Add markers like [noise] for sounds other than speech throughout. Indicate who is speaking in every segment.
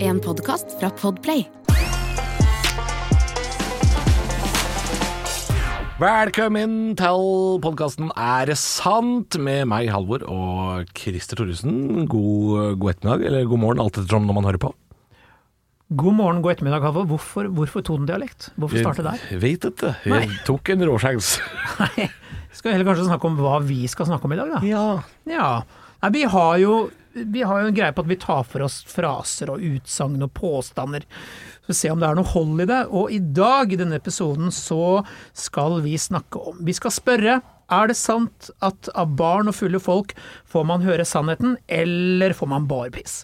Speaker 1: en podkast fra Podplay.
Speaker 2: Velkommen til podkasten Er det sant? med meg, Halvor, og Christer Thoresen. God, god ettermiddag, eller god morgen, alt ettersom når man hører på.
Speaker 3: God morgen, god ettermiddag, Halvor. Hvorfor, hvorfor tonedialekt? Hvorfor starte der? [laughs]
Speaker 2: Jeg Vet ikke. Jeg
Speaker 3: Nei.
Speaker 2: tok en råsjans.
Speaker 3: Nei, skal vi heller kanskje snakke om hva vi skal snakke om i dag, da?
Speaker 2: Ja.
Speaker 3: [laughs] Ja. Nei, vi har jo vi har jo en greie på at vi tar for oss fraser og utsagn og påstander. Så se om det er noe hold i det. Og i dag, i denne episoden, så skal vi snakke om Vi skal spørre er det sant at av barn og fulle folk får man høre sannheten, eller får man barpiss?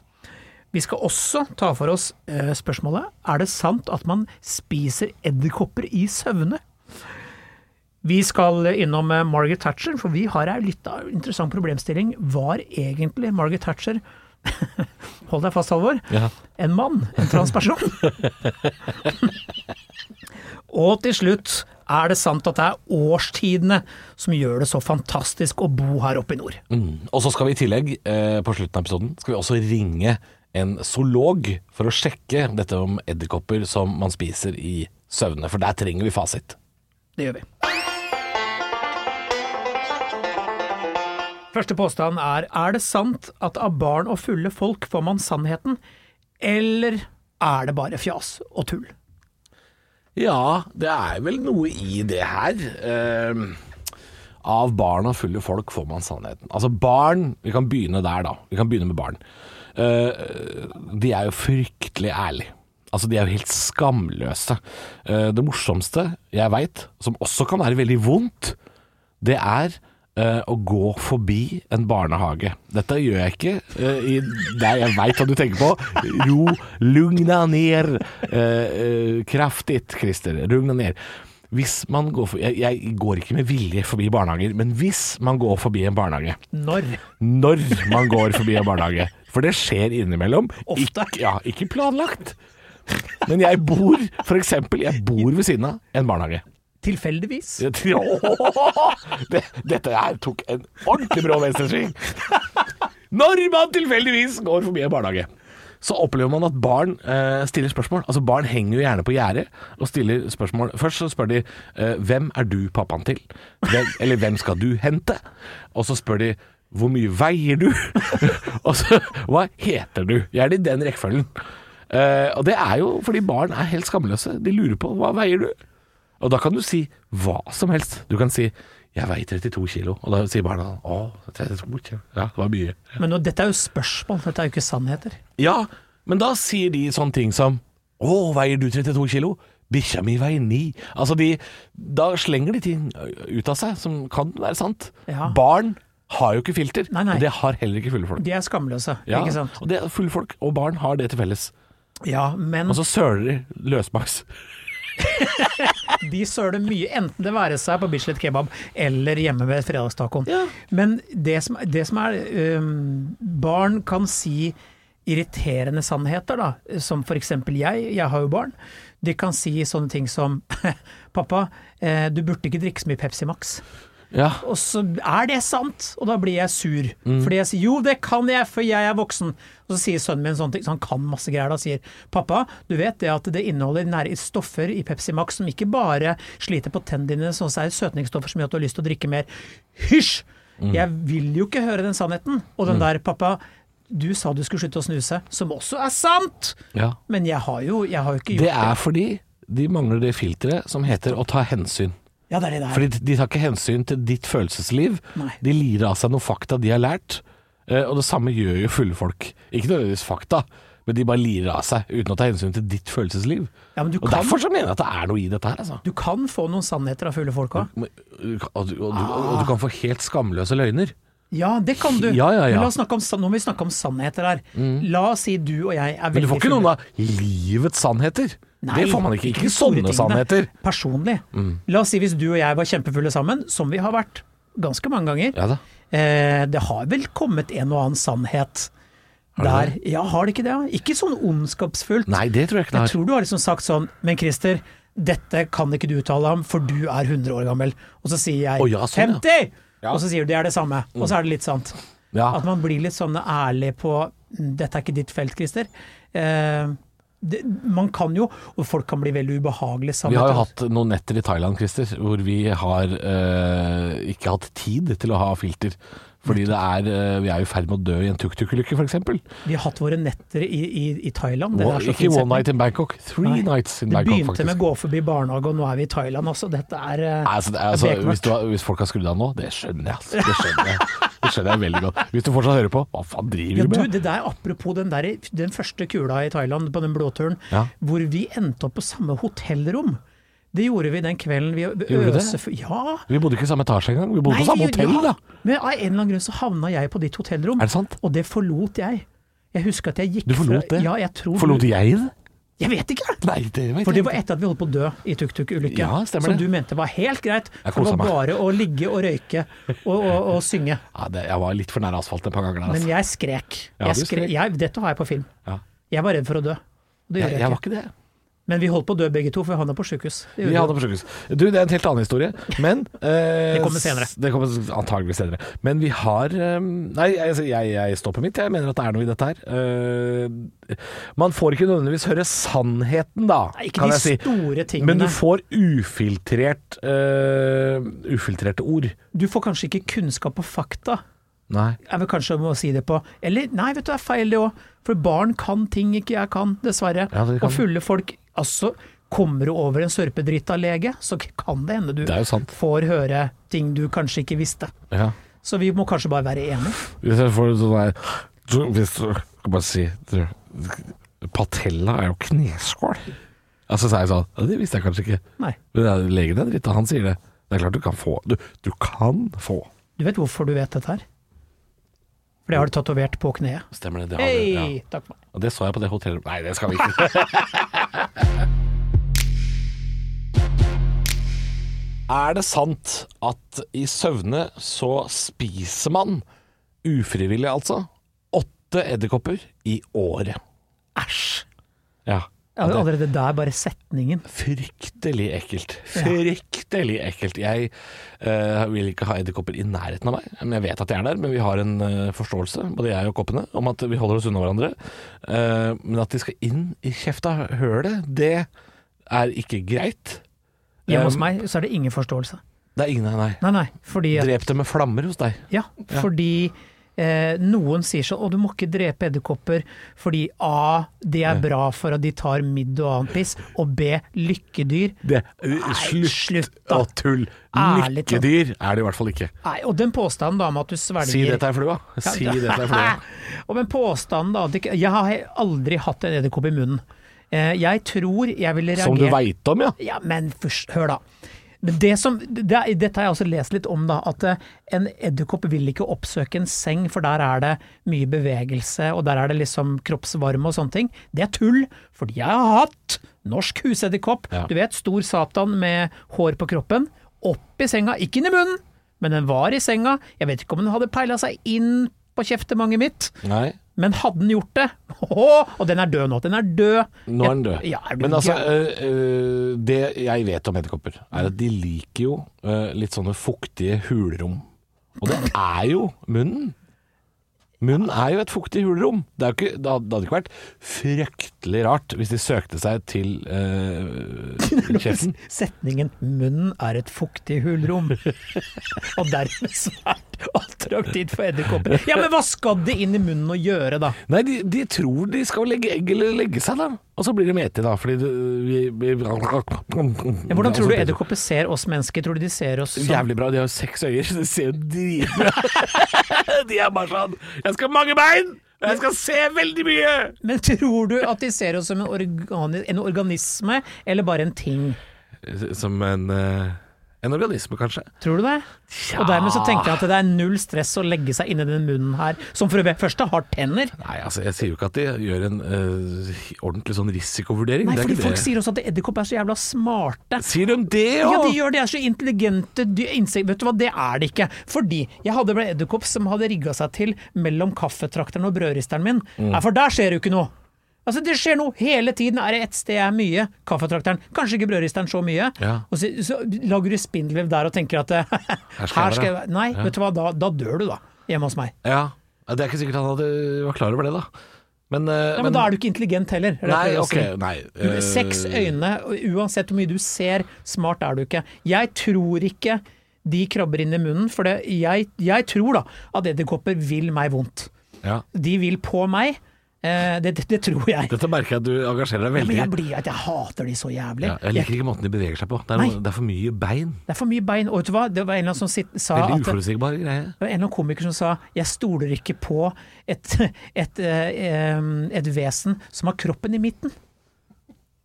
Speaker 3: Vi skal også ta for oss eh, spørsmålet er det sant at man spiser edderkopper i søvne. Vi skal innom eh, Margaret Thatcher, for vi har her litt av en interessant problemstilling. Var egentlig Margaret Thatcher [laughs] Hold deg fast, Halvor.
Speaker 2: Ja.
Speaker 3: En mann? En transperson? [laughs] og til slutt, er det sant at det er årstidene som gjør det så fantastisk å bo her oppe i nord?
Speaker 2: Mm. Og så skal vi i tillegg, eh, på slutten av episoden, skal vi også ringe en zoolog for å sjekke dette om edderkopper som man spiser i søvne, for der trenger vi fasit.
Speaker 3: Det gjør vi. Første påstand er Er det sant at av barn og fulle folk får man sannheten, eller er det bare fjas og tull?
Speaker 2: Ja, det er vel noe i det her. Ehm, av barn og fulle folk får man sannheten. Altså barn, vi kan begynne der da. Vi kan begynne med barn. Eh, de er jo fryktelig ærlige. Altså de er jo helt skamløse. Eh, det morsomste jeg veit, som også kan være veldig vondt, det er eh, å gå forbi en barnehage. Dette gjør jeg ikke eh, i Nei, jeg veit hva du tenker på. Jo, lugna ned eh, eh, kraftig, Christer. Lugna ned. Hvis man går for, jeg, jeg går ikke med vilje forbi barnehager, men hvis man går forbi en barnehage
Speaker 3: Når?
Speaker 2: Når man går forbi en barnehage. For det skjer innimellom.
Speaker 3: Ofte.
Speaker 2: Ikke, ja, ikke planlagt. Men jeg bor for eksempel, jeg bor ved siden av en barnehage.
Speaker 3: Tilfeldigvis?
Speaker 2: Jeg tror- Åh, [laughs] det, dette her tok en ordentlig brå venstresving. Når man tilfeldigvis går forbi en barnehage. Så opplever man at barn eh, stiller spørsmål. Altså Barn henger jo gjerne på gjerdet og stiller spørsmål. Først så spør de eh, 'Hvem er du pappaen til?' Hvem, eller 'Hvem skal du hente?' Og så spør de 'Hvor mye veier du?' [laughs] og så 'Hva heter du?' Gjerne i den rekkefølgen. Eh, og det er jo fordi barn er helt skamløse. De lurer på 'Hva veier du?' Og da kan du si hva som helst. Du kan si 'jeg veier 32 kilo', og da sier barna 'å, 32 kilo', ja, det var mye.
Speaker 3: Men nå, dette er jo spørsmål, dette er jo ikke sannheter.
Speaker 2: Ja, men da sier de sånne ting som 'å, veier du 32 kilo'? Bikkja mi veier 9. Altså de, da slenger de ting ut av seg som kan være sant.
Speaker 3: Ja.
Speaker 2: Barn har jo ikke filter,
Speaker 3: Nei, nei.
Speaker 2: og det har heller ikke fulle folk.
Speaker 3: De er skamløse,
Speaker 2: Ja,
Speaker 3: ikke sant?
Speaker 2: Og det, fulle folk og barn har det til felles.
Speaker 3: Ja, men
Speaker 2: Og så søler de løsmaks.
Speaker 3: de søler mye, enten det være seg på Bislett kebab eller hjemme ved fredagstacoen.
Speaker 2: Ja.
Speaker 3: Men det som, det som er øhm, Barn kan si irriterende sannheter, da. Som for eksempel jeg, jeg har jo barn. De kan si sånne ting som [laughs] Pappa, eh, du burde ikke drikke så mye Pepsi Max.
Speaker 2: Ja.
Speaker 3: Og så er det sant, og da blir jeg sur. Fordi jeg sier jo, det kan jeg, for jeg er voksen. Og så sier sønnen min sånne ting, så han kan masse greier da, sier pappa, du vet det at det inneholder nære stoffer i Pepsi Max som ikke bare sliter på tennene dine, sånn at det er søtningsstoffer som gjør at du har lyst til å drikke mer. Hysj! Jeg vil jo ikke høre den sannheten. Og
Speaker 2: Mm.
Speaker 3: den der, pappa, du sa du skulle slutte å snuse, som også er sant!
Speaker 2: ja.
Speaker 3: Men jeg har jo, jeg har jo ikke gjort
Speaker 2: Det er fordi de mangler det filteret som heter å ta hensyn.
Speaker 3: Ja, det er det det er.
Speaker 2: Fordi de tar ikke hensyn til ditt følelsesliv.
Speaker 3: Nei.
Speaker 2: De lirer av seg noen fakta de har lært, eh, og det samme gjør jo fulle folk. Ikke nødvendigvis fakta, men de bare lirer av seg uten å ta hensyn til ditt følelsesliv.
Speaker 3: Ja, men du
Speaker 2: og
Speaker 3: kan-
Speaker 2: Derfor så mener jeg at det er noe i dette her, altså.
Speaker 3: Du kan få noen sannheter av fulle folk òg.
Speaker 2: Men, uh, Og du, og, du, og
Speaker 3: Ah.
Speaker 2: du kan få helt skamløse løgner.
Speaker 3: Ja, det kan du.
Speaker 2: Ja, ja, ja.
Speaker 3: Men la oss snakke om, sann- nå må vi snakke om sannheter her. La oss si du og jeg er veldig
Speaker 2: Men du får ikke noen av livets sannheter.
Speaker 3: Nei,
Speaker 2: det får man ikke.
Speaker 3: de
Speaker 2: Ikke
Speaker 3: store
Speaker 2: sånne
Speaker 3: tingene.
Speaker 2: sannheter. Mm.
Speaker 3: Personlig. La oss si hvis du og jeg var kjempefulle sammen, som vi har vært ganske mange ganger.
Speaker 2: Ja da.
Speaker 3: Eh, det har vel kommet en og annen sannhet
Speaker 2: Har
Speaker 3: der. Ja, har det ikke det? ja? Ikke sånn ondskapsfullt.
Speaker 2: Nei, det tror jeg ikke det
Speaker 3: Jeg
Speaker 2: har.
Speaker 3: tror du har liksom sagt sånn Men Christer, dette kan ikke du uttale om, for du er 100 år gammel. Og så sier jeg
Speaker 2: Å, ja, sånn, ja.
Speaker 3: 50!
Speaker 2: Ja. Mm.
Speaker 3: Og så sier du det er det samme. Og så er det litt sant.
Speaker 2: Ja.
Speaker 3: At man blir litt sånn ærlig på Dette er ikke ditt felt, Christer. Eh, det, man kan jo, og folk kan bli veldig ubehagelige sammen.
Speaker 2: Vi har jo hatt noen netter i Thailand, Christer, hvor vi har eh, ikke hatt tid til å ha filter. Fordi det er, eh, vi er jo i ferd med å dø i en tuk-tuk-ulykke, f.eks.
Speaker 3: Vi har hatt våre netter i, i, i Thailand. Det er så
Speaker 2: Ikke
Speaker 3: fin
Speaker 2: one
Speaker 3: setning.
Speaker 2: night in Bangkok, three
Speaker 3: Nei.
Speaker 2: nights in
Speaker 3: Det
Speaker 2: Bangkok,
Speaker 3: begynte
Speaker 2: faktisk.
Speaker 3: med gå forbi barnehage, og nå er vi i Thailand også. Dette er, eh,
Speaker 2: Nei, altså, det, er-
Speaker 3: er
Speaker 2: altså,
Speaker 3: bekmørkt.
Speaker 2: hvis, du har, hvis folk har skrudd av nå, det skjønner jeg. Altså. Det skjønner jeg Det skjønner jeg veldig godt. Hvis du fortsatt hører på, hva faen
Speaker 3: Ja,
Speaker 2: driver du
Speaker 3: du,
Speaker 2: med?
Speaker 3: det der Apropos den, der, den første kula i Thailand, på den blåturen,
Speaker 2: Ja.
Speaker 3: hvor vi endte opp på samme hotellrom. Det gjorde vi den kvelden vi
Speaker 2: vi det?
Speaker 3: det? Ja!
Speaker 2: Vi bodde ikke i samme etasje engang, vi bodde
Speaker 3: Nei,
Speaker 2: på samme hotell,
Speaker 3: ja.
Speaker 2: da.
Speaker 3: Men av en eller annen grunn så havna jeg på ditt hotellrom.
Speaker 2: Er det sant?
Speaker 3: Og det forlot jeg. Jeg husker at jeg gikk
Speaker 2: Du forlot
Speaker 3: fra,
Speaker 2: det?
Speaker 3: Ja, jeg tror
Speaker 2: Forlot jeg det?
Speaker 3: Jeg vet ikke!
Speaker 2: Nei, det vet
Speaker 3: For det
Speaker 2: jeg
Speaker 3: var
Speaker 2: ikke.
Speaker 3: etter at vi holdt på å dø i tuk-tuk-ulykken.
Speaker 2: Ja, stemmer
Speaker 3: som
Speaker 2: det.
Speaker 3: du mente var helt greit.
Speaker 2: Jeg
Speaker 3: Det var
Speaker 2: koset meg.
Speaker 3: bare å ligge og røyke og, og, og synge.
Speaker 2: Ja, det, jeg var litt for nær asfalt et par ganger der,
Speaker 3: Men
Speaker 2: altså.
Speaker 3: jeg skrek.
Speaker 2: Ja,
Speaker 3: Jeg
Speaker 2: du
Speaker 3: skrek.
Speaker 2: skrek.
Speaker 3: Jeg, dette har jeg på film.
Speaker 2: Ja.
Speaker 3: Jeg var redd for å dø. Det gjør
Speaker 2: Jeg,
Speaker 3: jeg,
Speaker 2: jeg var
Speaker 3: ikke.
Speaker 2: ikke det.
Speaker 3: Men vi holdt på å dø begge to, for vi havna på sjukehus. Det
Speaker 2: Vi
Speaker 3: gjorde vi.
Speaker 2: hadde forsøkes. Du, det er en helt annen historie, men eh,
Speaker 3: Det kommer senere.
Speaker 2: s- Det kommer s- antageligvis senere. Men vi har eh, Nei, jeg, jeg, jeg stopper mitt. Jeg mener at det er noe i dette her. Eh, man får ikke nødvendigvis høre sannheten, da,
Speaker 3: Nei, ikke
Speaker 2: kan
Speaker 3: de
Speaker 2: jeg si.
Speaker 3: store tingene.
Speaker 2: Men du får ufiltrert eh, ufiltrerte ord.
Speaker 3: Du får kanskje ikke kunnskap og fakta.
Speaker 2: Nei.
Speaker 3: Jeg vil kanskje må si det på Eller nei, vet du, det er feil det òg. For barn kan ting ikke jeg kan, dessverre.
Speaker 2: Ja, det kan
Speaker 3: Og fulle folk Altså, kommer du over en sørpedrita lege, så kan det hende du
Speaker 2: Det er jo sant.
Speaker 3: får høre ting du kanskje ikke visste.
Speaker 2: Ja.
Speaker 3: Så vi må kanskje bare være enige.
Speaker 2: Hvis jeg får sånn her så Hvis du skal bare si du, Patella er jo kneskål. Altså, så er jeg sånn «Ja, Det visste jeg kanskje ikke.
Speaker 3: Nei.
Speaker 2: Men det er- Legen er dritt, og han sier det. Det er klart du kan få. Du, du kan få.
Speaker 3: Du vet hvorfor du vet dette her? For det har du tatovert på kneet.
Speaker 2: Stemmer det. det har vi, ja.
Speaker 3: Hei! Takk for meg.
Speaker 2: Og det så jeg på det hotellet Nei, det skal vi ikke. er det sant at i søvne så spiser man, ufrivillig altså, åtte edderkopper i året?
Speaker 3: Æsj!
Speaker 2: Ja.
Speaker 3: Ja,
Speaker 2: Og det-
Speaker 3: Allerede der, bare setningen.
Speaker 2: Fryktelig ekkelt. Fryktelig ekkelt. Jeg eh, vil ikke ha edderkopper i nærheten av meg. Men jeg vet at de er der, men vi har en eh, forståelse, både jeg og koppene, om at vi holder oss unna hverandre. Eh, men at de skal inn i kjefta hølet, det er ikke greit.
Speaker 3: Hjemme hos
Speaker 2: Um,
Speaker 3: meg så er det ingen forståelse.
Speaker 2: Det er ingen Nei, nei.
Speaker 3: Nei, nei. Fordi at
Speaker 2: Drep det med flammer hos deg.
Speaker 3: Ja, fordi eh, noen sier sånn 'Å, du må ikke drepe edderkopper', fordi A. Det er bra for at de tar midd og annet piss, og B. Lykkedyr. slutt å
Speaker 2: tull.
Speaker 3: Lykkedyr
Speaker 2: er det i hvert fall ikke.
Speaker 3: Nei, og den påstanden da om at du svelger
Speaker 2: Si det til ei flue. Si det til ei flue.
Speaker 3: [laughs]
Speaker 2: [laughs]
Speaker 3: Og men påstanden da at ikke- Jeg har he- aldri hatt en edderkopp i munnen. Eh, jeg tror jeg ville reagert
Speaker 2: Som du veit om, ja.
Speaker 3: Ja, men først, hør da. Men det som, det, er- dette har jeg også lest litt om, da, at eh, en edderkopp vil ikke oppsøke en seng, for der er det mye bevegelse, og der er det liksom kroppsvarme og sånne ting. Det er tull, fordi jeg har hatt norsk husedderkopp,
Speaker 2: Ja.
Speaker 3: du vet, stor satan med hår på kroppen, opp i senga, ikke inn i munnen, men den var i senga, jeg vet ikke om den hadde peila seg inn på kjeftemanget mitt,
Speaker 2: Nei.
Speaker 3: men hadde den gjort det, [laughs] Åh, og den er død nå, den er død.
Speaker 2: Nå er den død.
Speaker 3: Ja, er du
Speaker 2: Men altså,
Speaker 3: gæren?
Speaker 2: øh, øh, det jeg vet om edderkopper, er at de liker jo øh, litt sånne fuktige hulrom. Og det er jo munnen. Munnen er jo et fuktig hulrom. Det, er jo ikke, det, hadde, det hadde ikke vært fryktelig rart hvis de søkte seg til
Speaker 3: [laughs]
Speaker 2: øh, kjeften.
Speaker 3: Setningen 'munnen er et fuktig hulrom' [laughs] og dermed svært attraktivt for edderkopper. Ja, men hva skal det inn i munnen å gjøre, da?
Speaker 2: Nei, de, de tror de skal legge egg eller legge seg, da. Og så blir de mete, da. Fordi det, vi, vi
Speaker 3: Ja, hvordan tror du edderkopper ser oss mennesker? Tror du de ser oss som
Speaker 2: Jævlig bra. De har jo seks øyer, [laughs] så det ser jo dritbra [laughs] De er bare sånn Jeg skal ha mange bein! Og jeg skal se veldig mye!
Speaker 3: Men tror du at de ser oss som en, organi en organisme, eller bare en ting?
Speaker 2: Som en eh, En organisme, kanskje.
Speaker 3: Tror du det? Og dermed så tenker jeg at det er null stress å legge seg inni den munnen her, som for det første har tenner.
Speaker 2: Nei, altså, jeg sier jo ikke at de gjør en eh, ordentlig sånn risikovurdering.
Speaker 3: Nei,
Speaker 2: det er
Speaker 3: fordi
Speaker 2: ikke
Speaker 3: folk
Speaker 2: det.
Speaker 3: sier også at edderkopper er så jævla smarte.
Speaker 2: Sier de det
Speaker 3: Ja,
Speaker 2: òg?
Speaker 3: de gjør det. De er så intelligente dy- insekter. Vet du hva, det er det ikke. Fordi jeg hadde en edderkopp som hadde rigga seg til mellom kaffetrakteren og brødristeren min.
Speaker 2: Mm.
Speaker 3: Nei, for der skjer det jo ikke noe. Altså Det skjer noe hele tiden. Er det ett sted er mye? Kaffetrakteren. Kanskje ikke brødristeren så mye.
Speaker 2: Ja.
Speaker 3: Og så, så lager du spindelvev der og tenker [laughs] at eh, Her
Speaker 2: skal jeg
Speaker 3: skal jeg
Speaker 2: være.
Speaker 3: Nei, vet du hva, da, da dør du, da. Hjemme hos meg.
Speaker 2: ja. Det er ikke sikkert han hadde var klar over det, da. Men, eh,
Speaker 3: Nei, men da er du ikke intelligent heller. er det
Speaker 2: Nei,
Speaker 3: jeg prøver å
Speaker 2: ok,
Speaker 3: si.
Speaker 2: nei. eh,
Speaker 3: Seks øyne, og uansett hvor mye du ser, smart er du ikke. Jeg tror ikke de krabber inn i munnen, for det, jeg, jeg tror da at edderkopper vil meg vondt.
Speaker 2: Ja.
Speaker 3: De vil på meg. Eh, det, det, det tror jeg.
Speaker 2: Dette merker jeg at du engasjerer deg veldig
Speaker 3: Men
Speaker 2: i.
Speaker 3: jeg blir at jeg hater de så jævlig.
Speaker 2: Ja, jeg liker ikke måten de beveger seg på. Det er,
Speaker 3: Nei.
Speaker 2: noe, det er for mye bein.
Speaker 3: Det er for mye bein. Og vet du hva, det var en eller annen som sitt, sa
Speaker 2: Veldig
Speaker 3: at
Speaker 2: uforutsigbar greie.
Speaker 3: det var en eller annen komiker som sa 'jeg stoler ikke på et, et, eh, em, et vesen som har kroppen i midten'.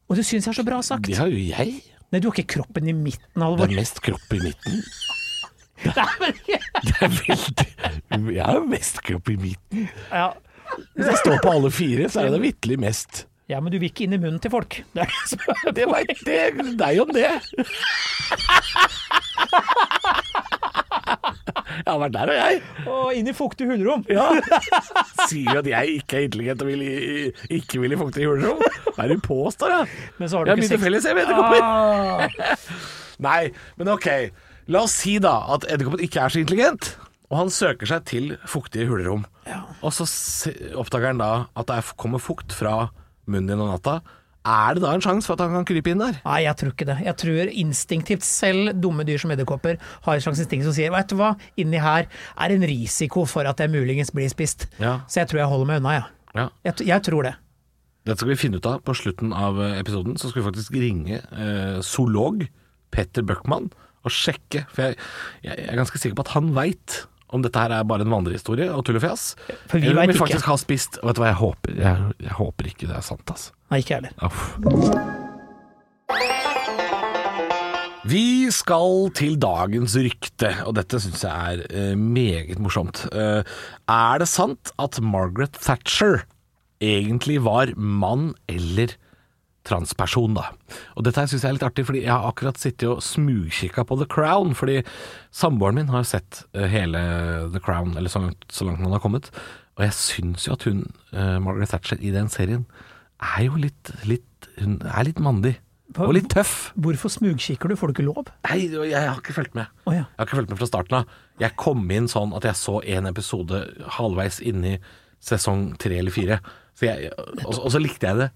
Speaker 3: Og det syns jeg er så bra sagt.
Speaker 2: Det har jo jeg.
Speaker 3: Nei, du har ikke kroppen i midten,
Speaker 2: Det
Speaker 3: Halvor.
Speaker 2: er mest kropp i midten.
Speaker 3: Nei, [laughs] men-
Speaker 2: Det er veldig Jeg har jo mest kropp i midten.
Speaker 3: Ja.
Speaker 2: Hvis jeg står på alle fire, så er det vitterlig mest.
Speaker 3: ja, men du vil ikke inn i munnen til folk. [laughs] Det er det som er
Speaker 2: Det veit deg om det. Jeg har vært der, og jeg.
Speaker 3: Og inn i fuktige hulrom. [laughs]
Speaker 2: Sier jo at jeg ikke er intelligent og vil i, ikke vil i fuktige hulrom. Hva er det du påstår, da?
Speaker 3: Men så har
Speaker 2: Jeg har mye
Speaker 3: du ikke
Speaker 2: til
Speaker 3: Ah, sex.
Speaker 2: felles, jeg med edderkopper. Nei, men ok. La oss si da at edderkoppen ikke er så intelligent, og han søker seg til fuktige hulrom. Og så se- oppdager han da at det er- kommer fukt fra munnen din om natta. Er det da en sjanse for at han kan krype inn der?
Speaker 3: Nei, jeg tror ikke det. Jeg tror instinktivt, selv dumme dyr som edderkopper, har et slags instinkt som sier Vet du hva, inni her er en risiko for at jeg muligens blir spist.
Speaker 2: Ja.
Speaker 3: Så jeg tror jeg holder meg unna, jeg.
Speaker 2: Ja.
Speaker 3: Jeg, t- jeg tror det.
Speaker 2: Dette skal vi finne ut av på slutten av eh, episoden. Så skal vi faktisk ringe eh, zoolog Petter Bøckmann og sjekke. For jeg, jeg er ganske sikker på at han veit om dette her er bare en vandrehistorie og tull og fjas.
Speaker 3: For vi
Speaker 2: Eller om vi
Speaker 3: vet ikke.
Speaker 2: faktisk har spist Vet du hva, jeg håper, jeg, jeg håper ikke det er sant, altså.
Speaker 3: Nei, ikke jeg heller.
Speaker 2: Uff. Vi skal til dagens rykte, og dette syns jeg er eh, meget morsomt. Eh, er det sant at Margaret Thatcher egentlig var mann eller transperson, da? Og dette her syns jeg er litt artig, fordi jeg har akkurat sittet og smugkikka på The Crown. Fordi samboeren min har sett eh, hele The Crown, eller så langt, så langt man har kommet. Og jeg syns jo at hun, eh, Margaret Thatcher, i den serien er jo litt, litt Hun er litt mandig. Og litt tøff.
Speaker 3: Hvorfor smugkikker du? Får du ikke lov?
Speaker 2: Nei, jeg har ikke fulgt med.
Speaker 3: Å, ja.
Speaker 2: Jeg har ikke fulgt med fra starten av. Jeg kom inn sånn at jeg så en episode halvveis inni sesong tre eller fire. Så jeg, og, så- og så likte jeg det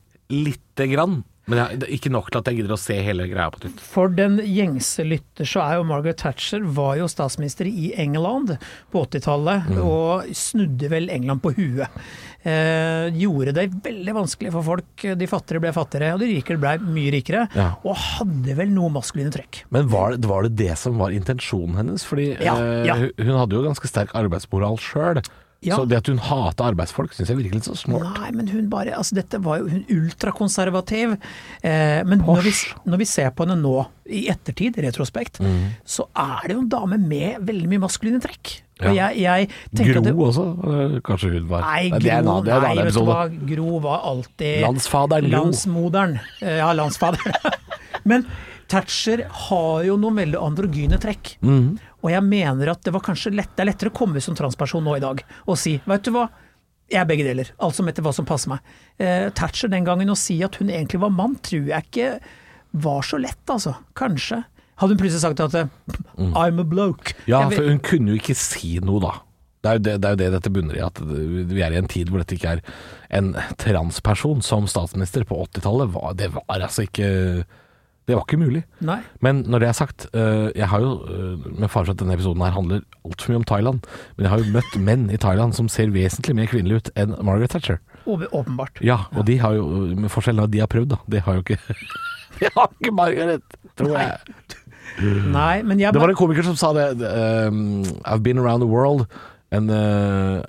Speaker 2: lite grann. Men jeg, det er ikke nok til at jeg gidder å se hele greia på nytt.
Speaker 3: For den gjengse lytter så er jo Margaret Thatcher var jo statsminister i England på 80-tallet,
Speaker 2: Mm.
Speaker 3: og snudde vel England på huet. Eh, gjorde det veldig vanskelig for folk. De fattigere ble fattigere, og de rikere ble mye rikere.
Speaker 2: Ja.
Speaker 3: Og hadde vel noe maskuline trekk.
Speaker 2: Men var det, var det det som var intensjonen hennes? Fordi
Speaker 3: Ja,
Speaker 2: eh,
Speaker 3: ja.
Speaker 2: hun- hun hadde jo ganske sterk arbeidsmoral sjøl.
Speaker 3: Ja.
Speaker 2: Så det at hun hata arbeidsfolk, syns jeg virker litt sånn så snålt.
Speaker 3: Nei, men hun bare Altså, dette var jo hun ultrakonservativ. Eh, men når vi, når vi ser på henne nå, i ettertid, i retrospekt,
Speaker 2: Mm.
Speaker 3: så er det jo en dame med veldig mye maskuline trekk. Og
Speaker 2: Ja.
Speaker 3: jeg, jeg tenker
Speaker 2: Gro
Speaker 3: at det,
Speaker 2: også, eh, kanskje hun var.
Speaker 3: Nei,
Speaker 2: Nei, det er en
Speaker 3: Gro,
Speaker 2: annen- det er en
Speaker 3: nei,
Speaker 2: annen
Speaker 3: vet du
Speaker 2: episode.
Speaker 3: hva, Gro var alltid
Speaker 2: Landsfaderen Gro.
Speaker 3: Landsmoderen. Eh, Ja, landsfaderen. [laughs] Men Thatcher har jo noen veldig androgyne trekk.
Speaker 2: Mhm.
Speaker 3: Og jeg mener at det var kanskje lett, det er lettere å komme som transperson nå i dag og si Vet du hva, jeg er begge deler. Altså etter hva som passer meg. Eh, Thatcher den gangen å si at hun egentlig var mann, tror jeg ikke var så lett, altså. Kanskje. Hadde hun plutselig sagt at eh,
Speaker 2: Mm.
Speaker 3: I'm a bloke.
Speaker 2: Ja,
Speaker 3: Jeg vet-
Speaker 2: for hun kunne jo ikke si noe, da. Det er, jo det, det er jo det dette bunner i, at det- vi er i en tid hvor dette ikke er en transperson som statsminister på 80-tallet. var- Det var altså ikke Det var ikke mulig.
Speaker 3: Nei.
Speaker 2: Men når det er sagt, øh, jeg har jo, øh, med fare for at denne episoden her handler altfor mye om Thailand, men jeg har jo møtt menn i Thailand som ser vesentlig mer kvinnelige ut enn Margaret Thatcher.
Speaker 3: åp- Åpenbart.
Speaker 2: Ja, og de har jo, med forskjellen er at de har prøvd, da. De har jo ikke [laughs] De har ikke Margaret, tror jeg.
Speaker 3: Nei, men jeg
Speaker 2: Det var en komiker som sa det um, I've been around the world And uh,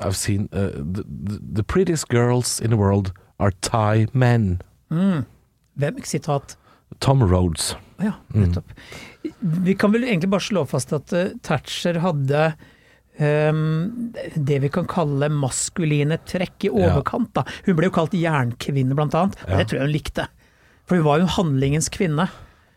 Speaker 2: I've seen uh, the, the- the prettiest girls in the world Are Thai men
Speaker 3: Mm. Hvem? Sitat.
Speaker 2: Tom Rhodes
Speaker 3: Ja,
Speaker 2: Mm.
Speaker 3: nettopp. Vi kan vel egentlig bare slå fast at eh, Thatcher hadde ehm, det vi kan kalle maskuline trekk i overkant. Da. Hun ble jo kalt jernkvinne, blant annet. og Det tror jeg hun likte. For hun var jo handlingens kvinne.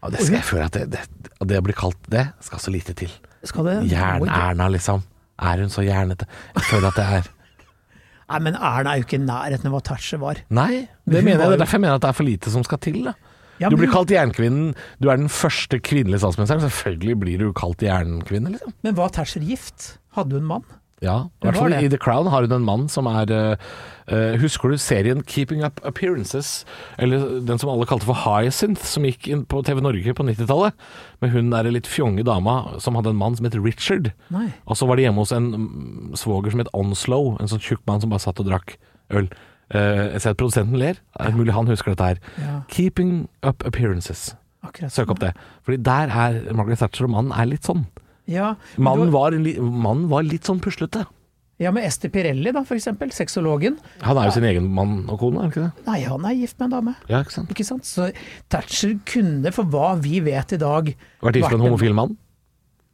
Speaker 2: ja, det skal jeg føle at det, det, at det blir kalt det Skal så lite til
Speaker 3: Skal det
Speaker 2: Jern-Erna liksom Er hun så jernete? Jeg føler at det er [laughs]
Speaker 3: Nei, men Erna er jo ikke i nærheten av hva Thatcher var.
Speaker 2: Nei, det mener
Speaker 3: Hun
Speaker 2: jeg,
Speaker 3: var
Speaker 2: det
Speaker 3: jo-
Speaker 2: er derfor jeg mener at det er for lite som skal til da.
Speaker 3: Ja,
Speaker 2: Du
Speaker 3: men-
Speaker 2: blir kalt jernkvinnen Du er den første kvinnelige statsministeren Selvfølgelig blir du kalt jernkvinne liksom.
Speaker 3: Men var Thatcher gift? Hadde hun mann?
Speaker 2: Ja, i hvert
Speaker 3: har
Speaker 2: fall
Speaker 3: det.
Speaker 2: i The Crown har hun en mann som er eh, eh, Husker du serien Keeping Up Appearances? Eller den som alle kalte for Hyacinth, som gikk inn på TV Norge på 90-tallet? Med hun derre litt fjonge dama som hadde en mann som het Richard.
Speaker 3: Nei.
Speaker 2: Og så var de hjemme hos en mm, svoger som het Onslow, en sånn tjukk mann som bare satt og drakk øl. Eh, jeg ser at produsenten ler. Det er mulig han husker dette her.
Speaker 3: Ja.
Speaker 2: Keeping Up Appearances.
Speaker 3: Akkurat.
Speaker 2: Søk opp det. Fordi der er Margaret Thatcher og mannen er litt sånn.
Speaker 3: Ja, men
Speaker 2: Mannen
Speaker 3: du-
Speaker 2: var, en li- mannen var litt sånn puslete.
Speaker 3: ja, med Ester Pirelli, da, for eksempel. Sexologen.
Speaker 2: Han er jo sin egen mann og kone, er han ikke det?
Speaker 3: Nei, han er gift med en dame.
Speaker 2: Ja, ikke sant?
Speaker 3: Ikke sant? Så Thatcher kunne, for hva vi vet i dag
Speaker 2: Vært gift med en homofil mann?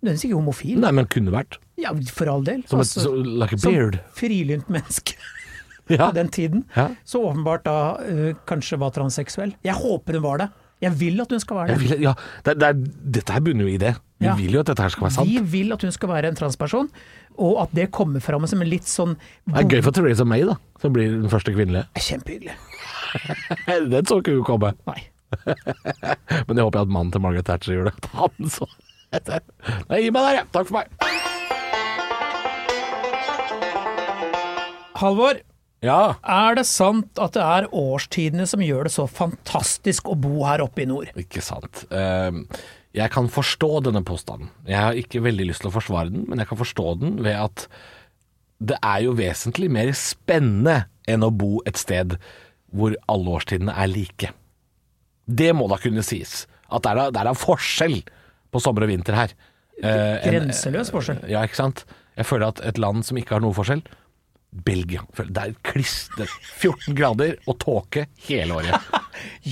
Speaker 3: Nødvendigvis ikke homofil.
Speaker 2: Nei, men kunne vært.
Speaker 3: Ja, for all del.
Speaker 2: Som et,
Speaker 3: Altså,
Speaker 2: så, like a
Speaker 3: som
Speaker 2: beard.
Speaker 3: frilynt menneske
Speaker 2: Ja.
Speaker 3: på den tiden.
Speaker 2: Ja.
Speaker 3: Så åpenbart da eh, kanskje var transseksuell. Jeg håper hun var det. Jeg vil at hun skal være
Speaker 2: Jeg
Speaker 3: det.
Speaker 2: vil, ja. Det, er- det, er- dette her bunner jo i det. Vi
Speaker 3: Ja.
Speaker 2: vil jo at dette her skal være sant.
Speaker 3: Vi vil at hun skal være en transperson, og at det kommer fram som en litt sånn
Speaker 2: Det er gøy for Theresa May, da. Som blir den første kvinnelige. [laughs]
Speaker 3: Kjempehyggelig.
Speaker 2: Den så ikke hun komme.
Speaker 3: Nei.
Speaker 2: Men jeg håper at mannen til Margaret Thatcher gjør det. [laughs] Han så Nei, gi meg der, ja. Takk for meg.
Speaker 3: Halvor,
Speaker 2: Ja.
Speaker 3: er det sant at det er årstidene som gjør det så fantastisk å bo her oppe i nord?
Speaker 2: Ikke sant. Ehm, Jeg kan forstå denne påstanden. Jeg har ikke veldig lyst til å forsvare den, men jeg kan forstå den ved at det er jo vesentlig mer spennende enn å bo et sted hvor alle årstidene er like. Det må da kunne sies. At det er da, det er da forskjell på sommer og vinter her. Eh, en-
Speaker 3: Grenseløs forskjell.
Speaker 2: Ja, ikke sant? Jeg føler at et land som ikke har noe forskjell Belgia. Føler- Det er kliss det er 14 grader og tåke hele året.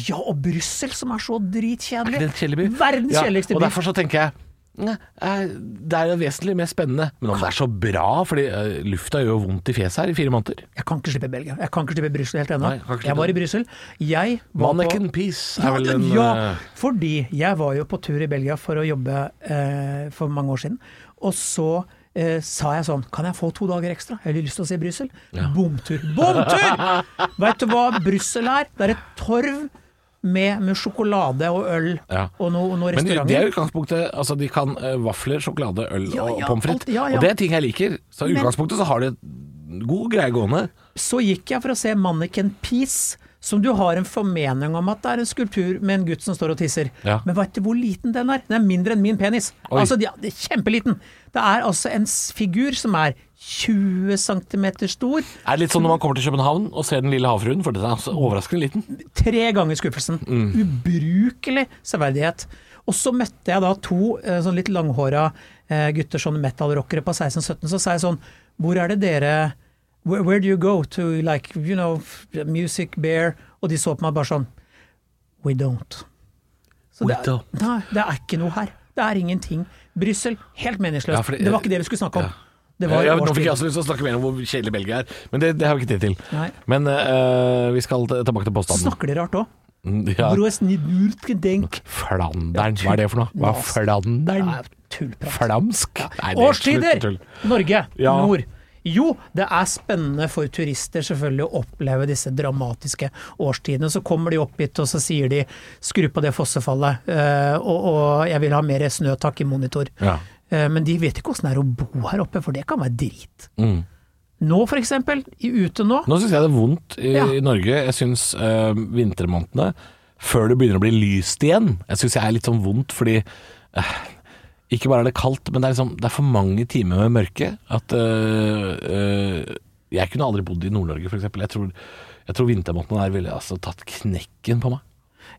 Speaker 3: Ja, og Brussel, som er så
Speaker 2: Er
Speaker 3: dritkjedelig.
Speaker 2: ikke det en kjedelig by?
Speaker 3: Verdens kjedeligste
Speaker 2: ja, Og
Speaker 3: by.
Speaker 2: derfor så tenker jeg "Nei, eh, det er jo vesentlig mer spennende. Men om det er så bra, fordi eh, lufta gjør jo vondt i fjeset her i fire måneder.
Speaker 3: Jeg kan ikke slippe Belgia. Jeg kan ikke slippe Brussel helt ennå.
Speaker 2: Nei, jeg kan ikke
Speaker 3: Jeg
Speaker 2: slippe
Speaker 3: var i Brussel. Jeg var på
Speaker 2: Manneken Peace
Speaker 3: Ja,
Speaker 2: er vel en
Speaker 3: ja,
Speaker 2: eh,
Speaker 3: fordi jeg var jo på tur i Belgia for å jobbe eh, for mange år siden. Og så eh, sa jeg sånn Kan jeg få to dager ekstra? Jeg har lyst til å se Brussel. Bomtur. Bomtur! Veit du hva Brussel er? Det er et torv med, med sjokolade og øl
Speaker 2: Ja.
Speaker 3: og noen noe
Speaker 2: Men det- det er
Speaker 3: restauranter.
Speaker 2: jo utgangspunktet. Altså, de kan eh, vafler, sjokolade, øl
Speaker 3: Ja,
Speaker 2: og
Speaker 3: ja,
Speaker 2: pommes frites.
Speaker 3: alt- ja, ja.
Speaker 2: Og det er ting jeg liker. Så i
Speaker 3: Men-
Speaker 2: utgangspunktet så har de god greie gående.
Speaker 3: Så gikk jeg for å se Manneken Peace. Som du har en formening om at det er en skulptur med en gutt som står og tisser.
Speaker 2: Ja.
Speaker 3: Men veit du hvor liten den er? Den er mindre enn min penis.
Speaker 2: Oi.
Speaker 3: Altså, de- ja, det er kjempeliten. Det er altså en s- figur som er 20 cm stor,
Speaker 2: Er det litt sånn når man kommer til København og ser Den lille havfruen, for den er altså overraskende liten.
Speaker 3: tre ganger skuffelsen.
Speaker 2: Mm.
Speaker 3: Ubrukelig severdighet. Og så møtte jeg da to eh, sånn litt langhåra eh, gutter, sånn metal-rockere på 16-17, så sa jeg sånn Hvor er det dere where, where do you go to like, you know, f- music, bear? Og de så på meg bare sånn We don't. Så
Speaker 2: We
Speaker 3: det, er-
Speaker 2: don't.
Speaker 3: Nei, det er ikke noe her. Det er ingenting. Bryssel, helt meningsløst.
Speaker 2: Ja, fordi-
Speaker 3: det var ikke det vi skulle snakke om.
Speaker 2: Ja.
Speaker 3: Det var
Speaker 2: Eh, ja, nå fikk jeg
Speaker 3: årstiden.
Speaker 2: også lyst til å snakke mer om hvor kjedelig Belgia er, men det, det har vi ikke tid til.
Speaker 3: Nei.
Speaker 2: Men eh, vi skal t- tilbake til påstanden.
Speaker 3: Snakker de rart òg?
Speaker 2: Mm, Ja.
Speaker 3: denk.
Speaker 2: Flandern, hva er det for noe? Hva er
Speaker 3: Nas.
Speaker 2: Flandern?
Speaker 3: Nei, tullprat.
Speaker 2: Flamsk? Nei, det er
Speaker 3: Årstider!
Speaker 2: tull- tull.
Speaker 3: Norge,
Speaker 2: Ja.
Speaker 3: nord. Jo, det er spennende for turister selvfølgelig å oppleve disse dramatiske årstidene. Så kommer de opp hit og så sier de 'skru på det fossefallet', eh, og, og 'jeg vil ha mer snø, takk, i monitor'.
Speaker 2: Ja.
Speaker 3: Eh, Men de vet ikke åssen det er å bo her oppe, for det kan være drit. Nå for eksempel, i- ute nå,
Speaker 2: Mm. Nå syns jeg det er vondt i,
Speaker 3: Ja.
Speaker 2: i Norge. Jeg syns eh, vintermånedene, før det begynner å bli lyst igjen, jeg syns jeg er litt sånn vondt fordi eh, ikke bare er det kaldt, men det er, liksom, det er for mange timer med mørke. At eh, eh, Jeg kunne aldri bodd i Nord-Norge, f.eks. Jeg tror, jeg tror vintermånedene der ville altså tatt knekken på meg.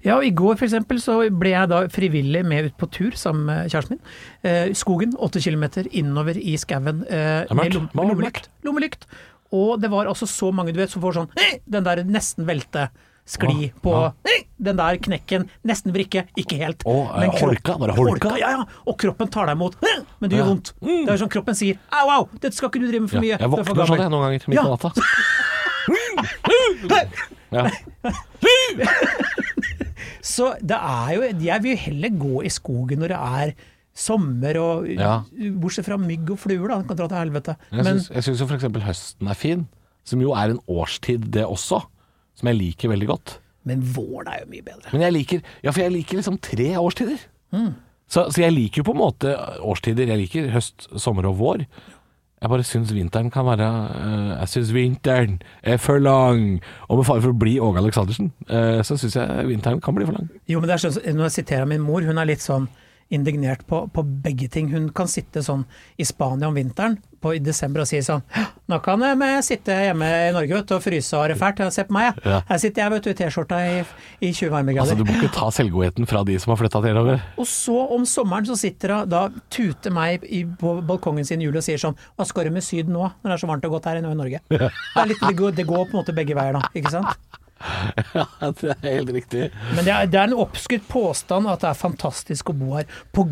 Speaker 3: Ja, og i går for eksempel så ble jeg da frivillig med ut på tur sammen med kjæresten min. Eh, i skogen, åtte kilometer innover i skauen. Eh,
Speaker 2: er mørkt.
Speaker 3: med lom-
Speaker 2: Det var
Speaker 3: lommelykt. Lommelykt. Og det var altså så mange du vet som får sånn «Nei!» Den der nesten velte. Skli
Speaker 2: Åh,
Speaker 3: på
Speaker 2: ja.
Speaker 3: «Nei!» den der knekken. Nesten vrikke, ikke helt.
Speaker 2: Åh, eh,
Speaker 3: Men kropp-
Speaker 2: holka, var det holka?
Speaker 3: Ja, ja. Og kroppen tar deg imot. «Nei!» Men det
Speaker 2: Ja.
Speaker 3: gjør
Speaker 2: Mm.
Speaker 3: vondt. Det er sånn kroppen sier au, au, dette skal ikke du drive med for
Speaker 2: Ja,
Speaker 3: mye.
Speaker 2: jeg
Speaker 3: du er for
Speaker 2: våkner sånn
Speaker 3: gammel.»
Speaker 2: jeg noen ganger midt på
Speaker 3: Ja. [laughs]
Speaker 2: natta. Ja.
Speaker 3: Så det er jo Jeg vil jo heller gå i skogen når det er sommer og
Speaker 2: Ja.
Speaker 3: Bortsett fra mygg og fluer, da. Den kan dra til helvete.
Speaker 2: Jeg
Speaker 3: Men
Speaker 2: syns- Jeg syns jo f.eks. høsten er fin, som jo er en årstid det også, som jeg liker veldig godt.
Speaker 3: Men våren er jo mye bedre.
Speaker 2: Men jeg liker, ja, for jeg liker liksom tre årstider.
Speaker 3: Mm.
Speaker 2: Så, så jeg liker jo på en måte årstider. Jeg liker høst, sommer og vår. Jeg bare syns vinteren kan være eh, Jeg syns vinteren er for lang. Og med fare for å bli Åge Aleksandersen, eh, så syns jeg vinteren kan bli for lang.
Speaker 3: Jo, men det er sånn, Når jeg siterer min mor, hun er litt sånn indignert på, på begge ting. Hun kan sitte sånn i Spania om vinteren på, i desember og si sånn «Hå, Nå kan jeg med- sitte hjemme i Norge vet, du, og fryse og ha det fælt. Ja, Se på meg,
Speaker 2: Ja.
Speaker 3: jeg. Her sitter jeg vet du, i T-skjorta i, i 20
Speaker 2: Altså,
Speaker 3: varmegrader.
Speaker 2: Du må ikke ta selvgodheten fra de som har flytta til Norge.
Speaker 3: Og så om sommeren så sitter hun da tuter meg i, på balkongen sin i juli og sier sånn Hva skal du med Syden nå, når det er så varmt og godt her i Norge? Det, er litt, det, går, det går på en måte begge veier da, ikke sant? [laughs]
Speaker 2: Ja, det er helt riktig.
Speaker 3: Men det er, det er en oppskutt påstand at det er fantastisk å bo her pga.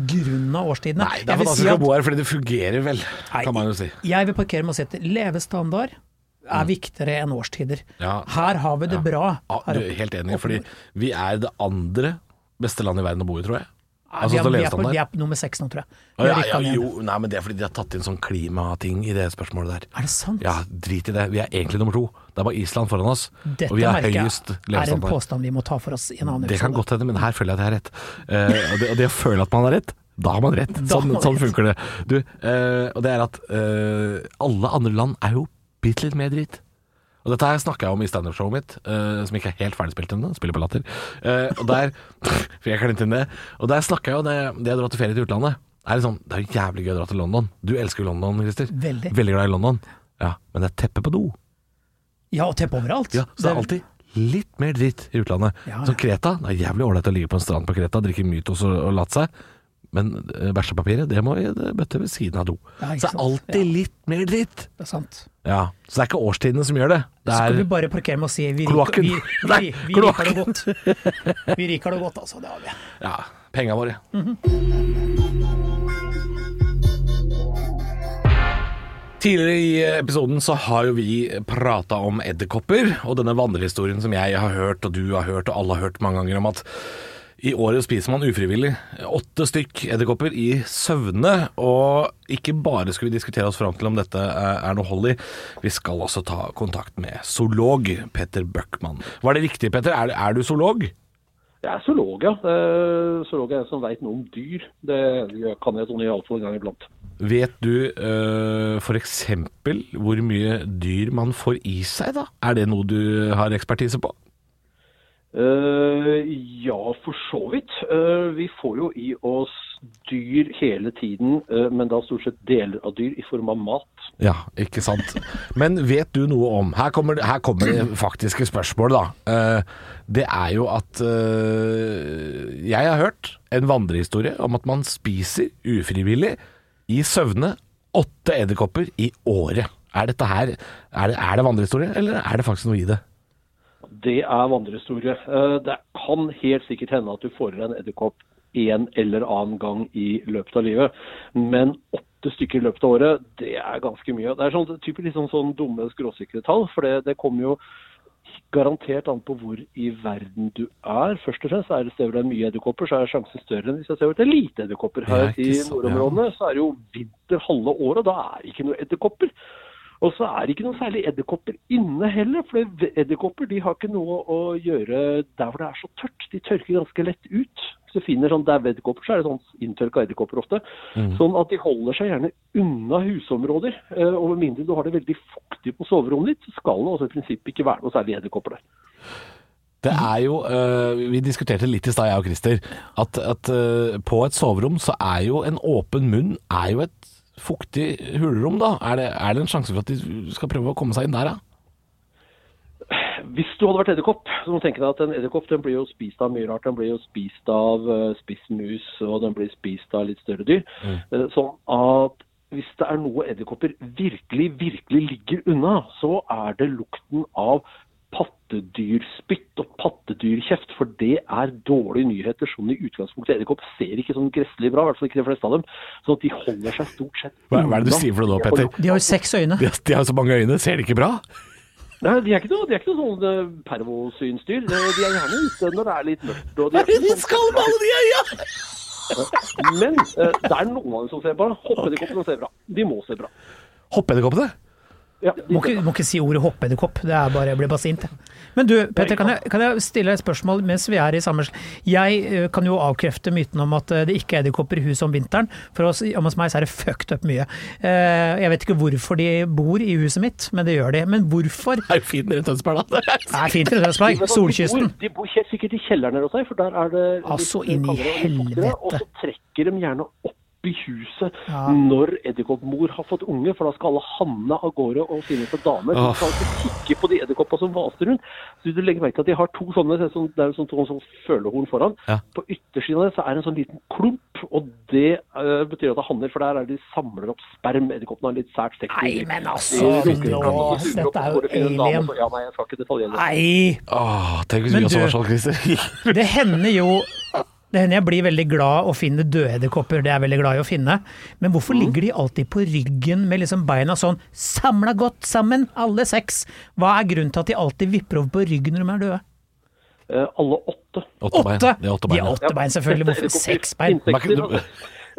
Speaker 3: årstidene.
Speaker 2: Nei, det
Speaker 3: Jeg
Speaker 2: er
Speaker 3: vil si
Speaker 2: fantastisk å
Speaker 3: at-
Speaker 2: bo her, fordi det fungerer vel,
Speaker 3: Nei,
Speaker 2: kan man jo si. Mm.
Speaker 3: Jeg vil parkere med å si at levestandard er viktigere enn årstider.
Speaker 2: Ja.
Speaker 3: Her har vi det bra.
Speaker 2: Ja,
Speaker 3: Her
Speaker 2: du,
Speaker 3: oppe.
Speaker 2: helt enig, fordi vi er det andre beste landet i verden å bo i, tror jeg.
Speaker 3: Ja,
Speaker 2: Altså,
Speaker 3: vi, er,
Speaker 2: til
Speaker 3: vi, er på,
Speaker 2: levestandard.
Speaker 3: vi er på nummer seks nå, tror jeg.
Speaker 2: Å,
Speaker 3: Vi har
Speaker 2: ja,
Speaker 3: rykka
Speaker 2: ja,
Speaker 3: ned.
Speaker 2: jo, nei, men det er fordi de har tatt inn sånn klimating i det spørsmålet der.
Speaker 3: Er det sant?
Speaker 2: Ja, drit i det. Vi er egentlig nummer to. Det er bare Island foran oss.
Speaker 3: Dette
Speaker 2: og vi har
Speaker 3: merker jeg
Speaker 2: høyest
Speaker 3: er en
Speaker 2: levestandard.
Speaker 3: påstand vi må ta for oss i en annen
Speaker 2: Det kan
Speaker 3: episode.
Speaker 2: godt hende, men her føler jeg at jeg har rett. Eh, og, det, og det å føle at man har rett, da har man rett.
Speaker 3: Da har
Speaker 2: Sånn,
Speaker 3: man
Speaker 2: sånn
Speaker 3: rett.
Speaker 2: funker det. Du, eh, og det er at eh, alle andre land er jo bitte litt mer dritt. Og dette her snakka jeg om i standup-showet mitt, eh, som ikke er helt ferdigspilt ennå. Spiller på latter. Eh, og der [laughs] For jeg klinte inn det. Og der snakka jeg jo det, det å dra til ferie til utlandet. Er liksom, det er jo jævlig gøy å dra til London. Du elsker jo London, Christer.
Speaker 3: Veldig.
Speaker 2: Veldig glad i London. Ja, men det er teppe på do.
Speaker 3: Ja, og teppe overalt.
Speaker 2: Ja, så det er alltid litt mer dritt i utlandet.
Speaker 3: Ja,
Speaker 2: Så Kreta, det er jævlig ålreit å ligge på en strand på Kreta, drikke mytos og, og latt seg. Men eh, bæsjepapiret, det må i det bøtte ved siden av do. så
Speaker 3: Ja, ikke
Speaker 2: det
Speaker 3: sant?
Speaker 2: er alltid litt mer dritt.
Speaker 3: Det er sant.
Speaker 2: Ja, Så det er ikke årstidene som gjør det.
Speaker 3: Så
Speaker 2: Det
Speaker 3: skal vi
Speaker 2: er
Speaker 3: bare parkere med å si vi,
Speaker 2: Kloakken.
Speaker 3: riker- vi,
Speaker 2: [laughs] Nei,
Speaker 3: vi, vi riker det godt.
Speaker 2: [laughs]
Speaker 3: Vi riker det godt, altså. Det har vi.
Speaker 2: ja, penga våre. Tidligere i episoden så har jo vi prata om edderkopper, og denne vandrehistorien som jeg har hørt, og du har hørt, og alle har hørt mange ganger om at i året spiser man ufrivillig åtte stykk edderkopper i søvne, og ikke bare skal vi diskutere oss fram til om dette eh, er noe hold i, vi skal også ta kontakt med zoolog Petter Bøckmann. Var det riktig, Petter? Er, er du zoolog?
Speaker 1: Jeg er zoolog, ja. Eh, Zoolog er en som veit noe om dyr. Det kan jeg sånn iallfall en gang iblant.
Speaker 2: Vet du uh, f.eks. hvor mye dyr man får i seg, da? Er det noe du har ekspertise på?
Speaker 1: Eh, ja, for så vidt. Eh, vi får jo i oss dyr hele tiden, eh, men da stort sett deler av dyr i form av mat.
Speaker 2: Ja, ikke sant. Men vet du noe om Her kommer, her kommer det faktiske spørsmålet, da. Eh, det er jo at eh, Jeg har hørt en vandrehistorie om at man spiser ufrivillig i søvne åtte edderkopper i året. Er dette her er det, er det vandrehistorie, eller er det faktisk noe i det?
Speaker 1: Det er vandrehistorie. Eh, det kan helt sikkert hende at du får en edderkopp en eller annen gang i løpet av livet, men åtte stykker i løpet av året, det er ganske mye. Det er sånn, typisk litt sånn, sånn dumme, skråsikre tall, for det, det kommer jo garantert an på hvor i verden du er. Først og fremst er det steder hvor det er mye edderkopper, så er sjansen større enn hvis det er steder hvor det er lite edderkopper.
Speaker 2: Ja,
Speaker 1: Her
Speaker 2: ikke
Speaker 1: i
Speaker 2: sant, ja.
Speaker 1: nordområdene så er det jo vinter halve året, da er det ikke noe edderkopper. Og så er det ikke noe særlig edderkopper inne heller, for det- edderkopper de har ikke noe å gjøre der hvor det er så tørt. De tørker ganske lett ut. Hvis du finner sånn daue edderkopper, så er det sånn inntørka edderkopper ofte. Sånn at de holder seg gjerne unna husområder. eh, Og med mindre du har det veldig fuktig på soverommet ditt, så skal det altså i prinsippet ikke være noe særlig edderkopper der.
Speaker 2: Det er jo øh, Vi diskuterte litt i stad, jeg og Christer, at, at øh, på et soverom så er jo en åpen munn er jo et fuktig hulrom, da. Er det, er det en sjanse for at de skal prøve å komme seg inn der, da?
Speaker 1: Hvis du hadde vært edderkopp, så må du tenke deg at en edderkopp den blir jo spist av mye rart. Den blir jo spist av eh, spissmus, og den blir spist av litt større dyr.
Speaker 2: Mm.
Speaker 1: Eh, Sånn at hvis det er noe edderkopper virkelig, virkelig ligger unna, så er det lukten av pattedyrspytt og pattedyrkjeft. For det er dårlige nyheter. Sånn i utgangspunktet edderkopp ser ikke sånn gresselig bra, i hvert fall ikke de fleste av dem. Sånn at de holder seg stort sett
Speaker 2: Hva, hva er det du
Speaker 1: unna.
Speaker 2: sier for noe nå, Petter?
Speaker 3: De har jo seks øyne.
Speaker 2: De, de har jo så mange øyne, ser de ikke [laughs] bra?
Speaker 1: Nei, de er ikke noe, de er ikke noe sånn eh, pervosynsdyr. De de er gjerne ute når det er litt mørkt. Og de er ikke sånn-
Speaker 2: med alle de øya!
Speaker 1: Men eh, det er noen av dem som ser bra. Hoppedderkoppene ser bra. De må se bra.
Speaker 2: Hoppedderkoppene?
Speaker 1: Ja,
Speaker 3: Må ikke, må ikke si ordet hoppedderkopp, det er bare jeg blir bare sint. jeg. Men du Petter, kan jeg, kan jeg stille et spørsmål mens vi er i samme sl- Jeg eh, kan jo avkrefte myten om at eh, det ikke er edderkopper i huset om vinteren. For oss, om hos meg så er det fucked up mye. Eh, Jeg vet ikke hvorfor de bor i huset mitt, men det gjør de. Men hvorfor?
Speaker 2: Det er jo fint nede i Tønsberg, da.
Speaker 3: Det er fint i Tønsberg, solkysten.
Speaker 1: De bor, de bor helt sikkert i kjelleren her hos deg, for der er det litt eh,
Speaker 3: Altså, inn i
Speaker 1: kaldere og litt fuktigere,
Speaker 3: helvete.
Speaker 1: Og så trekker de gjerne opp i huset
Speaker 3: Ja.
Speaker 1: når edderkoppmor har fått unge, for da skal alle hanne av gårde og finne seg damer.
Speaker 2: Åh.
Speaker 1: Oh. Skal ikke kikke på de edderkoppa som vaser rundt. Så du legger merke til at de har to sånne, det er sånn- det er sånn, to sånn følehorn foran.
Speaker 2: Ja.
Speaker 1: På yttersiden av det så er det en sånn liten klump, og det eh, betyr at det er hanner, for der er de samler opp sperm. Edderkoppene har litt sært sekk.
Speaker 3: Nei, men altså,
Speaker 1: De runker
Speaker 3: nå,
Speaker 1: hverandre og suger opp,
Speaker 3: dette er
Speaker 1: så
Speaker 3: jo
Speaker 1: går det og finner en dame,
Speaker 3: alien.
Speaker 1: og så- Ja, nei, jeg skal ikke detaljere det.
Speaker 3: Nei!
Speaker 2: Åh, tenk hvis
Speaker 3: Men
Speaker 2: vi også
Speaker 3: du-
Speaker 2: var sånn, [laughs] Christer.
Speaker 3: Det hender jo det hender jeg blir veldig glad å finne døde edderkopper, det er jeg veldig glad i å finne. Men hvorfor ligger de alltid på ryggen med liksom beina sånn samla godt sammen, alle seks? Hva er grunnen til at de alltid vipper over på ryggen når de er døde?
Speaker 1: Eh, alle åtte.
Speaker 2: bein.
Speaker 3: Åtte!
Speaker 2: Det er åtte
Speaker 3: De
Speaker 2: bein.
Speaker 3: har
Speaker 2: ja.
Speaker 3: åtte bein, selvfølgelig. Hvorfor
Speaker 1: Edderkopper-
Speaker 3: seks bein?
Speaker 1: Insekter,
Speaker 2: Men-
Speaker 1: altså.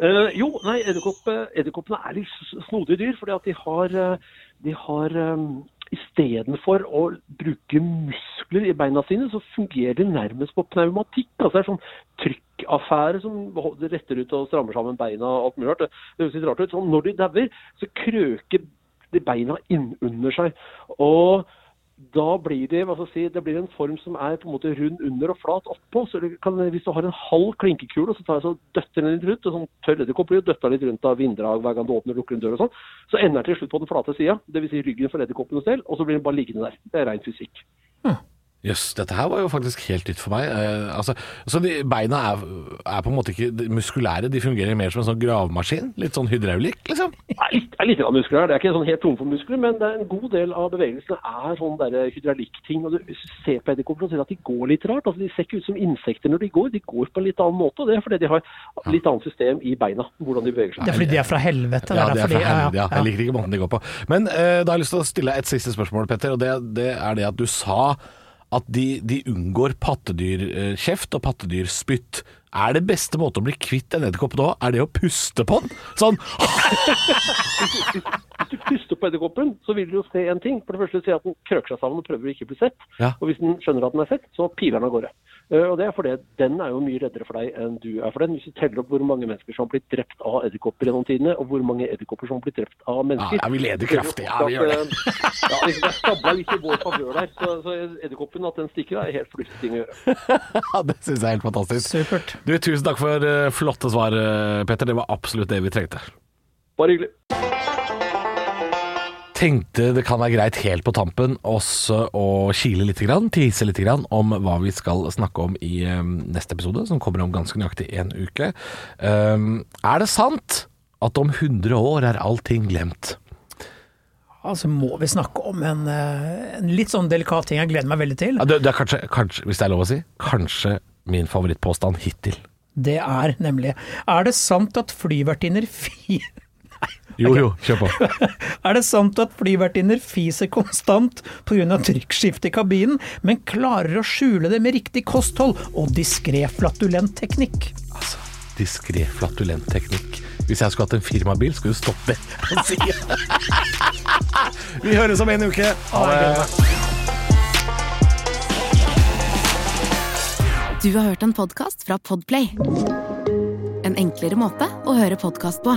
Speaker 1: Eh, jo, nei, edderkopp- edderkoppene er litt s- snodige dyr, fordi at de har, eh, de har um, Istedenfor å bruke muskler i beina sine, så fungerer de nærmest på pneumatikk. altså Det er sånn trykkaffære som ho- retter ut og strammer sammen beina og alt mulig rart. Det- Det høres litt rart ut. Sånn, når de dauer, så krøker de beina innunder seg. Og da blir det, hva skal jeg si, det blir en form som er på en måte rund under og flat oppå. så det kan, Hvis du har en halv klinkekule, så tar jeg så døtter den litt rundt. og sånn tørr edderkopp blir jo døtta litt rundt av vinddrag hver gang du åpner og lukker en dør og sånn. Så ender den til slutt på den flate sida, dvs. Si ryggen for edderkoppens del, og så blir den bare liggende der. Det er rein fysikk.
Speaker 2: Jøss, dette her var jo faktisk helt nytt for meg. Eh, altså, så de, beina er, er på en måte ikke de muskulære, de fungerer mer som en sånn gravemaskin? Litt sånn hydraulikk, liksom?
Speaker 1: Det er litt, det er litt grann muskler her. Det er ikke sånn helt tom for muskler, men det er en god del av bevegelsene er sånn der hydraulikkting. og Du ser på edderkopper og ser at de går litt rart. altså De ser ikke ut som insekter når de går. De går på en litt annen måte. og Det er fordi de har litt annet system i beina, hvordan de beveger seg.
Speaker 3: Det er fordi de er fra helvete.
Speaker 2: Ja,
Speaker 3: det
Speaker 2: det er
Speaker 3: er
Speaker 2: fra
Speaker 3: fordi,
Speaker 2: helvete. Ja. Jeg liker ikke måten de går på. Men eh, da har jeg lyst til å stille deg et siste spørsmål, Petter. Og det, det er det at du sa at de, de unngår pattedyrkjeft og pattedyrspytt. Er det beste måte å bli kvitt en edderkopp nå, er det å puste på den? Sånn [laughs]
Speaker 1: Hvis du puster på edderkoppen, så vil du jo se en ting. For det første ser jeg at den krøker seg sammen og prøver å ikke bli sett.
Speaker 2: Ja.
Speaker 1: Og hvis den skjønner at den er sett, så piler den av gårde. Eh, Og det er fordi den er jo mye reddere for deg enn du er for den. Hvis du teller opp hvor mange mennesker som har blitt drept av edderkopper gjennom tidene, og hvor mange edderkopper som har blitt drept av mennesker
Speaker 2: Ja, ja, vi leder kraftig. Ja, vi gjør det.
Speaker 1: Ja, liksom, det stabla litt i vår favør der. Så, så edderkoppen, at den stikker, er helt fornuftig ting å gjøre.
Speaker 2: Ja, det syns jeg er helt fantastisk.
Speaker 3: Supert.
Speaker 2: Du, tusen takk for eh, flotte svar, eh, Petter. Det var absolutt det vi trengte.
Speaker 1: Bare hyggelig.
Speaker 2: tenkte det kan være greit helt på tampen også å kile litt, grann, tise litt grann, om hva vi skal snakke om i eh, neste episode, som kommer om ganske nøyaktig en uke. Ehm, er det sant at om 100 år er allting glemt?
Speaker 3: Altså må vi snakke om en, eh, en litt sånn delikat ting jeg gleder meg veldig til.
Speaker 2: Ja, Det, det er kanskje, kanskje, hvis det er lov å si, kanskje min favorittpåstand hittil.
Speaker 3: Det er nemlig Er det sant at flyvertinner [laughs] fi...
Speaker 2: Jo jo, kjør på.
Speaker 3: [laughs] Er det sant at flyvertinner fiser konstant pga. trykkskifte i kabinen, men klarer å skjule det med riktig kosthold og diskré flatulent teknikk?
Speaker 2: [laughs] Altså, diskré flatulent teknikk. Hvis jeg skulle hatt en firmabil, skulle du stoppe og si [laughs] Vi høres om en uke. Ha det.
Speaker 4: Du har hørt en podcast fra Podplay En enklere måte å høre podcast på